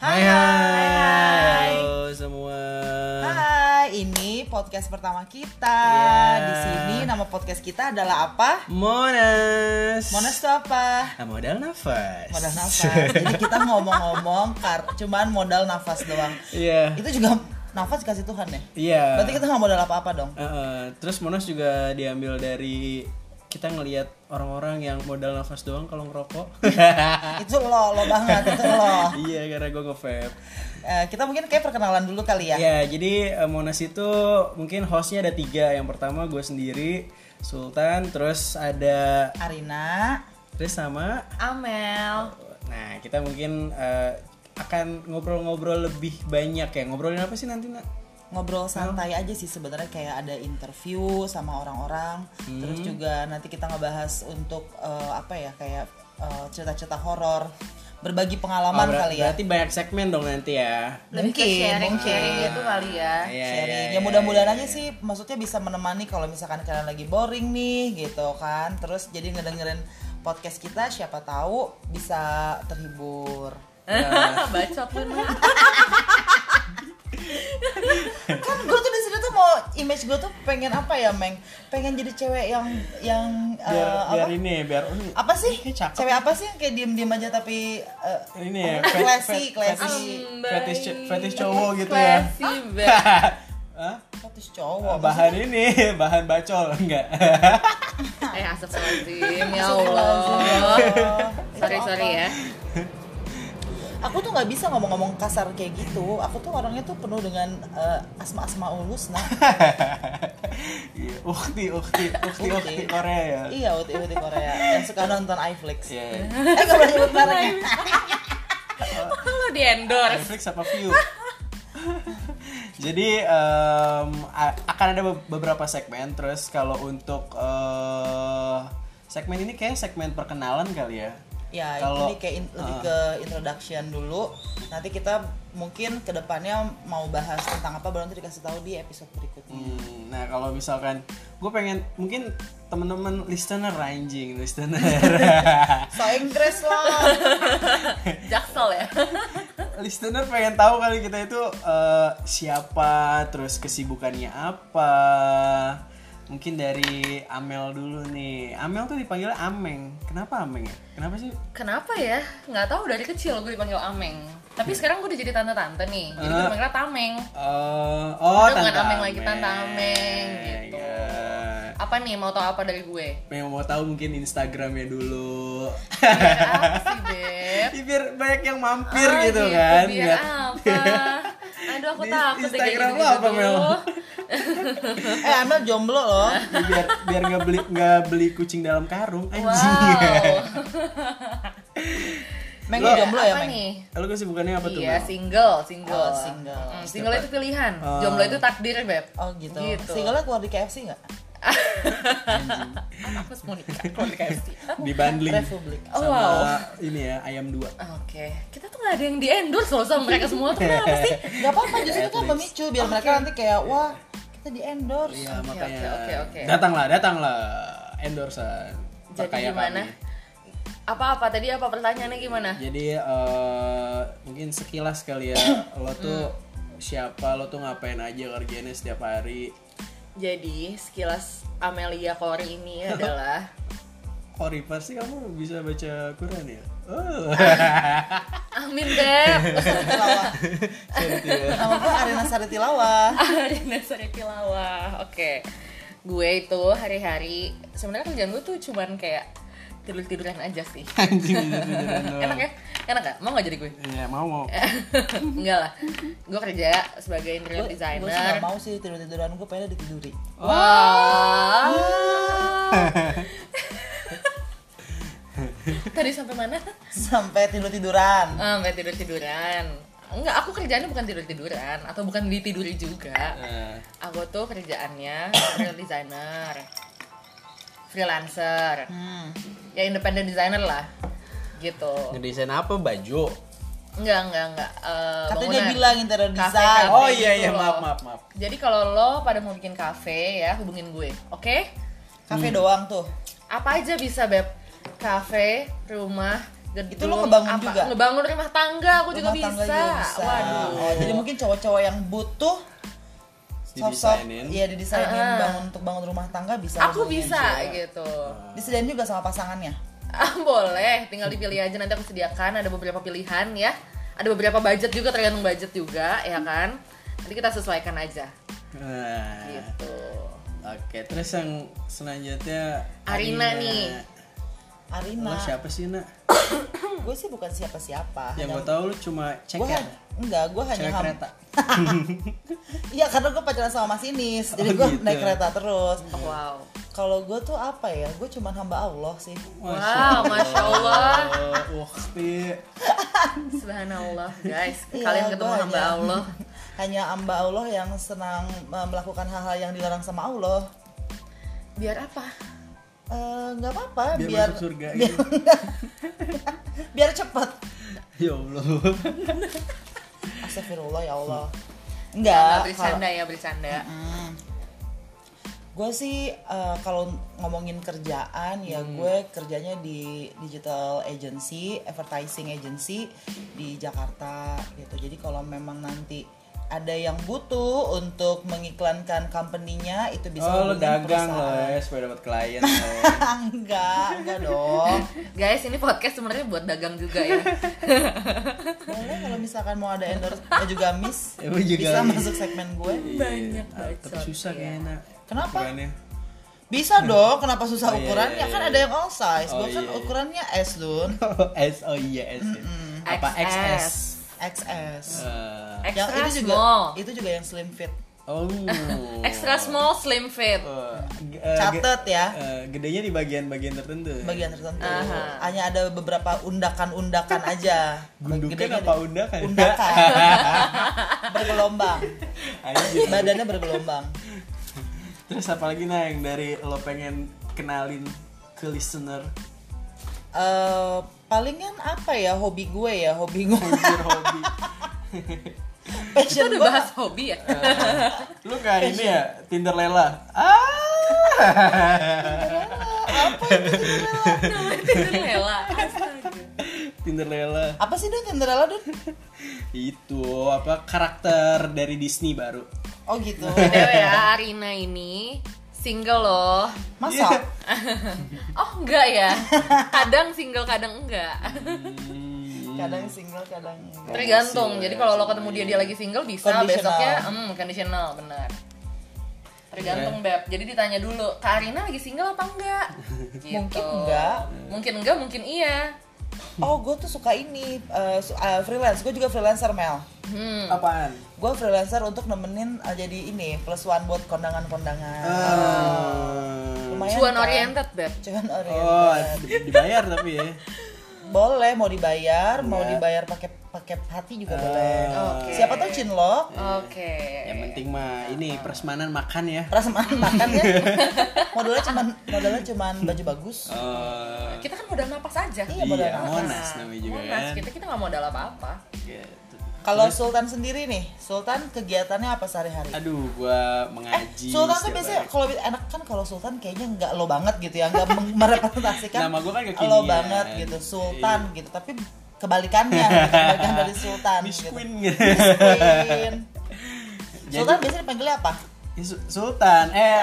Hai Hai hai, hai. Halo semua. Hai, ini podcast pertama kita. Iya. Di sini nama podcast kita adalah apa? Monas. Monas itu apa? Ah, modal nafas. Modal nafas. Jadi kita ngomong-ngomong kar cuman modal nafas doang. Iya. Itu juga nafas dikasih Tuhan ya. Iya. Berarti kita nggak modal apa-apa dong. Eh, eh, terus Monas juga diambil dari kita ngelihat orang-orang yang modal nafas doang kalau ngerokok. Itu lo, lo banget, itu lo. iya, karena gue nge-vape. Eh, kita mungkin kayak perkenalan dulu kali ya. Ya, jadi eh, Monas itu mungkin hostnya ada tiga. Yang pertama gue sendiri, Sultan, terus ada Arina, Tris sama Amel. Nah, kita mungkin eh, akan ngobrol-ngobrol lebih banyak ya. Ngobrolin apa sih nanti, Nak? ngobrol Iya. santai aja sih sebenarnya kayak ada interview sama orang-orang Hmm. terus juga nanti kita ngebahas untuk eh, apa ya kayak eh, cerita-cerita horor berbagi pengalaman Oh, ber- kali ya Berarti banyak segmen dong nanti ya. Lebih Mungkin, ke sharing, mungkin. sharing gitu kali ya. Iya, iya, sharing iya, ya mudah-mudahan iya. aja sih maksudnya bisa menemani kalau misalkan kalian lagi boring nih gitu kan terus jadi ngedengerin podcast kita siapa tahu bisa terhibur Bacot lu mah. kan gue tuh di sini tuh mau image gue tuh pengen apa ya meng pengen jadi cewek yang yang eh, Biar, biar apa ini, biar ini, apa sih Ini cakep. cewek apa sih yang kayak diem diem aja tapi eh, ini ya. apa? fe- classy fe- classy fetish- Ambai. fetish ce- fetish cowok gitu ya. Classy banget. Hah? status cowok bahan ini, bahan bacol enggak? Eh asap lazim. Ya Astagfirullahaladzim. Allah. Itu Sorry apa? sorry ya. aku tuh nggak bisa ngomong-ngomong kasar kayak gitu aku tuh orangnya tuh penuh dengan eh, asma-asma ulus nah Iya, ukti, ukti, ukti, ukti Korea ya. iya uti uti Korea yang suka nonton iFlix Iya. eh nggak boleh nyebut mereknya Lo di endorse. Netflix apa view? Jadi em, a- akan ada be- beberapa segmen. Terus kalau untuk eh, segmen ini kayak segmen perkenalan kali ya. Ya, Kalau- jadi kayak in- lebih ke introduction dulu. Nanti kita mungkin kedepannya mau bahas tentang apa baru nanti dikasih tahu di episode berikutnya. Hmm, nah kalau misalkan gue pengen mungkin temen-temen listener anjing listener So Inggris lah. Jaksel ya. listener pengen tahu kali kita itu eh, siapa terus kesibukannya apa mungkin dari Amel dulu nih Amel tuh dipanggilnya Ameng kenapa Ameng ya kenapa sih Kenapa ya? Nggak tahu dari kecil gue dipanggil Ameng. Tapi sekarang gue udah jadi tante-tante nih. Jadi gue Eh. dipanggilnya Tameng. Eh, oh, Kita bukan Tante Ameng lagi, Tante Ameng, gitu. Ya. Apa nih mau tahu apa dari gue? Yang mau tahu mungkin Instagramnya dulu. Biar apa sih, Beb? Ya, biar banyak yang mampir Ah, gitu, kan. biar Biar- apa? Aduh aku Di takut deh gitu. kayak Instagram lo gitu-gitu apa, Mel? tuh. eh, Amel jomblo loh. Ya, biar biar nggak beli nggak beli kucing dalam karung anjing. ah. Wow. Meng lo Lo- jomblo ya, apa Meng? nih? Lu kesibukannya apa tuh? Iya, Mel? Ah. single, single. Oh, single. Mm, single itu pilihan. Jomblo itu takdir, Beb. Oh gitu. Gitu. Single keluar di KFC nggak? Ah, Aku harus mau nikah kalau di KFC. Di bundling Republik. Oh, sama wow. ini ya ayam dua. Oke, kita tuh gak ada yang di endorse loh sama mereka semua tuh kenapa sih? Gak apa-apa, Iya, justru itu kan memicu biar mereka nanti kayak wah kita di endorse. Iya, Oke, makanya. oke, oke, oke. Datanglah, datanglah endorsan. Jadi Perkaya gimana? kami. Apa-apa tadi apa pertanyaannya gimana? Jadi eh, mungkin sekilas kali ya lo tuh Hmm. siapa, lo tuh ngapain aja kerjanya setiap hari. Jadi sekilas Amelia Kori ini adalah Kori pasti Oh, kamu bisa baca Quran ya? Oh. Amin Beb Tilawah. Nama gue Arena Sari Tilawah. Arena Sari Tilawah. Oke. Gue itu hari-hari sebenarnya kerjaan gue tuh cuman kayak tidur-tiduran aja sih. Anjing bisa tiduran doang. Enak ya? Enak gak? Mau gak jadi gue? Iya, mau mau. Enggak lah. Gue kerja sebagai interior Gue sih nggak designer. mau sih tidur-tiduran gue pengen ditiduri. Wah. Tadi sampai mana? Sampai tidur-tiduran. Ah, Sampai tidur-tiduran. Enggak, aku kerjaannya bukan tidur-tiduran atau bukan ditiduri juga. Eh, aku tuh kerjaannya real designer freelancer Hmm. ya independent designer lah gitu ngedesain apa baju? enggak enggak enggak Eh, Katanya dia bangunan. bilang interior Kafe, design. kafe Oh iya gitu iya, loh. maaf maaf maaf. jadi kalau lo pada mau bikin kafe ya hubungin gue oke Hmm. Kafe doang tuh. apa aja bisa beb kafe rumah gedung Itu lo ngebangun apa, juga? ngebangun rumah tangga aku juga, Rumah bisa. tangga juga bisa. waduh Oh, jadi mungkin cowok-cowok yang butuh sosok Didesainin. iya didesainin Ah. bangun untuk bangun rumah tangga bisa aku hubungin bisa cewek. gitu disediain juga sama pasangannya ah, boleh tinggal dipilih aja nanti aku sediakan ada beberapa pilihan ya ada beberapa budget juga tergantung budget juga ya kan nanti kita sesuaikan aja Nah, gitu Oke, terus yang selanjutnya Arina nih. Lo Arina siapa sih, Nak? gue sih bukan siapa-siapa Yang Hanya- gue tahu lu cuma gue ceker. hanya- enggak gue hanya Cewek kan ham- kereta. iya karena gue pacaran sama Mas Inis jadi Oh, gue gitu. naik kereta terus Oh, wow kalau gue tuh apa ya gue cuman hamba Allah sih wow masya allah Oh, waktu. subhanallah guys Iya, kalian ketemu gua hamba aja. allah hanya hamba Allah yang senang eh, melakukan hal-hal yang dilarang sama Allah biar apa Eh, nggak apa-apa biar Biar masuk surga biar, gitu. biar cepat Ya Allah. Astagfirullah ya Allah Hmm. Nggak, enggak bercanda ya bercanda gue sih eh, kalau ngomongin kerjaan ya Hmm. gue kerjanya di digital agency advertising agency di Jakarta gitu jadi kalau memang nanti ada yang butuh untuk mengiklankan company-nya itu bisa Oh, lu hubungin dagang lo perusahaan. ya supaya dapat klien. lo. enggak enggak dong guys ini podcast sebenarnya buat dagang juga ya Iya, boleh kalau misalkan mau ada endorse eh, juga miss Eh, juga bisa miss. masuk segmen gue Banyak Iya, banget Tapi shot, susah iya. kayaknya. Nak. Kenapa? Ukurannya. bisa dong kenapa susah Oh, iya, ukurannya iya, kan iya. ada yang all size Oh, gue kan iya, iya. ukurannya S dun S oh iya S. ya. Apa XS? XS. XS Eh, yang Ya, extra itu juga small itu juga yang slim fit oh. extra small slim fit Oh. Eh, ge- eh, catet ya ge- eh, gedenya di bagian-bagian tertentu. ya? bagian tertentu Aha. hanya ada beberapa undakan-undakan aja Gundukan Gedenya apa di- undakan? undakan bergelombang Anjir. badannya bergelombang Terus apalagi nah yang dari lo pengen kenalin ke listener Eh, palingan apa ya hobi gue ya hobi gue Anjir hobi. passion udah gue bahas hobi ya Iya. Lu kayak ini ya Tinder Lela. Ah. namanya Cinderella Iya. Astaga. Tinder Lela. apa sih dun Cinderella dun Itu apa karakter dari Disney baru. oh gitu Btw ya Arina ini single loh masa oh enggak ya kadang single kadang enggak Hmm. kadang single kadang enggak. tergantung jadi kalau lo ketemu dia dia lagi single bisa Conditional. besoknya hmm conditional benar tergantung Iya. beb jadi ditanya dulu kak Arina lagi single apa enggak Gitu. Mungkin enggak. mungkin enggak mungkin iya oh gue tuh suka ini eh, su- eh, freelance gue juga freelancer Mel hmm Apaan? gue freelancer untuk nemenin eh, jadi ini plus one buat kondangan-kondangan Ah. lumayan cuan kan? oriented beb cuan Oh, oriented dibayar tapi ya. boleh mau dibayar mau Iya. dibayar pakai pakai hati juga Ah. boleh Oke. siapa tuh cinlok oke Iya. Yang penting mah ini peresmanan makan ya. perasaan makan ya modalnya cuman modalnya cuman baju bagus Oh, kita kan modal napas aja Iya, gitu. modal iya, napas. Monas namanya juga Monas, kan. kita kita nggak modal apa apa Gitu. kalau Sultan sendiri nih Sultan kegiatannya apa sehari-hari Aduh, gua mengaji. Eh, Sultan tuh setiap biasanya hari. kalau enak kan kalau Sultan kayaknya nggak lo banget gitu ya nggak meng- merepresentasikan Nama gua kan kekinian. Iya. lo banget gitu Sultan gitu tapi kebalikannya gitu, kebalikan dari Sultan Miss gitu. Queen. Miss Queen. Jadi- Sultan biasanya dipanggilnya apa? Ya, Su- Sultan. Eh, eh,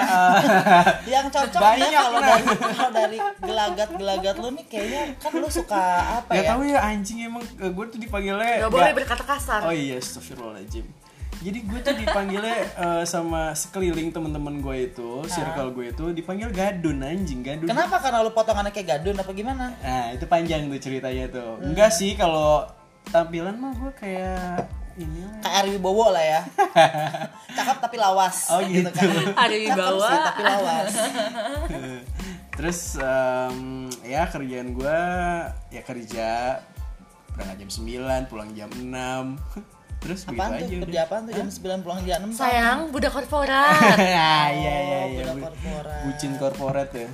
Yang cocok Banyak, ya kalau Nak. dari kalau dari gelagat-gelagat lo nih kayaknya kan lo suka apa Gak ya? tau ya anjing emang gue tuh dipanggilnya nggak boleh gak- berkata kasar Oh iya astagfirullahaladzim Jadi gue tuh dipanggilnya eh, sama sekeliling temen-temen gue itu Circle gue itu dipanggil gadun anjing gadun Ah. Kenapa karena lo potongannya kayak gadun apa gimana? Nah itu panjang tuh ceritanya tuh Enggak Hmm. sih kalau tampilan mah gue kayak ini lah. Kayak Ari Wibowo lah ya. Cakep tapi lawas kan. Oh, gitu. Ari Cakep Wibowo. sih, tapi lawas. Terus em, ya kerjaan gue ya kerja berangkat jam 9 pulang jam 6 Terus Apaan tuh? begitu Gitu aja Kerja apaan tuh jam 9 pulang jam 6? sayang budak korporat Ah, iya iya Oh, iya budak bu- korporat. bucin korporat ya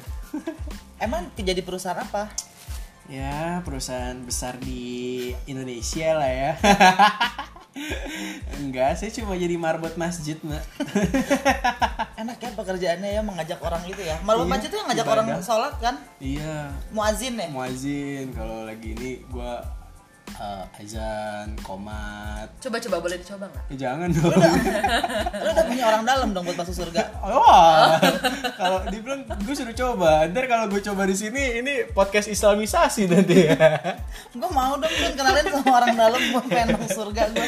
Emang kerja di perusahaan apa? ya perusahaan besar di Indonesia lah ya Enggak, saya cuma jadi marbot masjid, Mbak. Enak ya pekerjaannya ya mengajak orang gitu ya. Malu Iya, aja tuh yang ngajak ibadah. orang sholat kan? iya, Muazin ya? muazin kalau lagi ini gua eh, azan, komat. Coba coba boleh dicoba nggak? Eh, jangan dong. Lu udah punya orang dalam dong buat masuk surga. Wah, Oh, kalau dibilang gue suruh coba. Ntar kalau gue coba di sini, ini podcast islamisasi nanti ya. Gue mau dong Dun, kenalin sama orang dalam gue pengen masuk surga gue.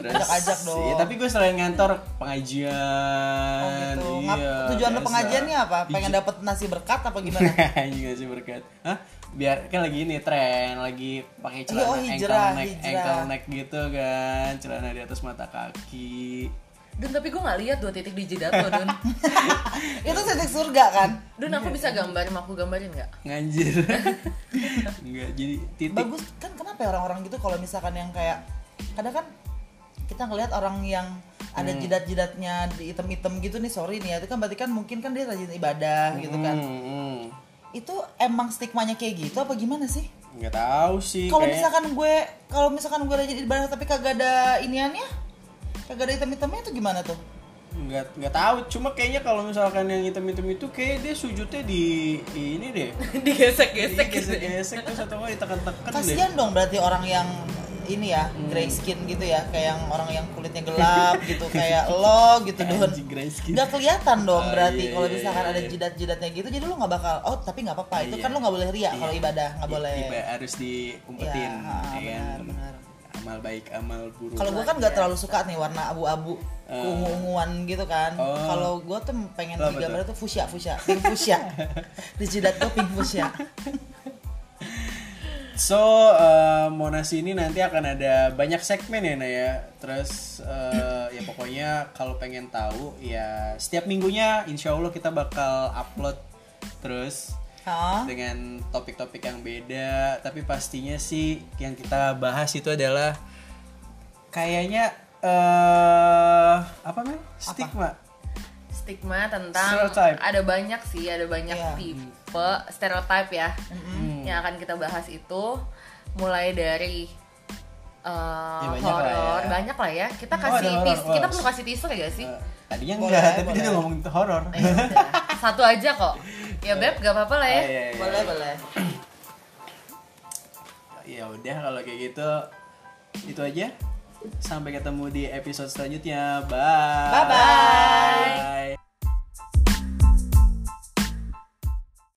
Ajak-ajak dong. Iya, tapi gue selain ngantor pengajian. Oh gitu. Ngap- Iya, tujuan lu biasa. pengajiannya apa? Pengen dapet nasi berkat apa gimana? Juga sih berkat. Hah? Biar kan lagi ini tren, lagi pakai celana oh, hijrah, ankle neck, hijrah. ankle neck gitu kan, celana di atas mata kaki. Dun tapi gue nggak lihat dua titik di jidat lo Dun. Itu titik surga kan? Dun aku bisa gambar, mau aku gambarin nggak? Nganjir. Enggak, jadi titik. Bagus kan kenapa ya orang-orang gitu kalau misalkan yang kayak kadang kan kita ngelihat orang yang ada Hmm. jidat-jidatnya di item-item gitu nih sorry nih ya itu kan berarti kan mungkin kan dia rajin ibadah gitu kan Hmm, hmm. itu emang stigmanya kayak gitu apa gimana sih Nggak tahu sih. kalau Iya, kayak- misalkan gue kalau misalkan gue rajin ibadah tapi kagak ada iniannya kagak ada item-itemnya itu gimana tuh nggak nggak tahu cuma kayaknya kalau misalkan yang hitam hitam itu kayak dia sujudnya di, di ini deh Digesek-gesek gitu. gesek Iya, gesek terus atau nggak ditekan tekan deh kasihan dong berarti orang yang ini ya Hmm. gray skin gitu ya kayak yang orang yang kulitnya gelap gitu kayak lo gitu don Anjing, gray skin. nggak kelihatan dong Oh, berarti iya, kalau iya, misalkan iya, ada iya. jidat-jidatnya gitu jadi lo nggak bakal oh tapi nggak apa-apa itu Iya. kan lo nggak boleh ria kalau ibadah nggak Iya, boleh iba- harus diumpetin Iya, ah, ya kan? benar, benar. amal baik amal buruk kalau gue kan nggak terlalu suka nih warna abu-abu ungu-unguan gitu kan Eh. Oh. kalau gue tuh pengen Lo apa digambar tuh fuchsia fuchsia pink fuchsia di jidat gue pink fuchsia so eh, monas ini nanti akan ada banyak segmen ya Naya terus eh, ya pokoknya kalau pengen tahu ya setiap minggunya insya allah kita bakal upload terus Hah? dengan topik-topik yang beda tapi pastinya sih yang kita bahas itu adalah kayaknya eh apa men stigma Stigma tentang Stereotype. ada banyak sih, ada banyak Iya. tipe stereotype ya yang akan kita bahas itu mulai dari uh, Ya, banyak lah horor ya. banyak lah ya kita Oh, ada kasih horor, tis- kita horor. perlu kasih teaser ya sih Eh, tadinya Boleh, enggak tapi dia boleh. udah ngomongin horor Ya udah. satu aja kok ya beb gak apa-apa lah ya Ah, iya, iya. boleh boleh ya udah kalau kayak gitu itu aja sampai ketemu di episode selanjutnya bye Bye-bye. bye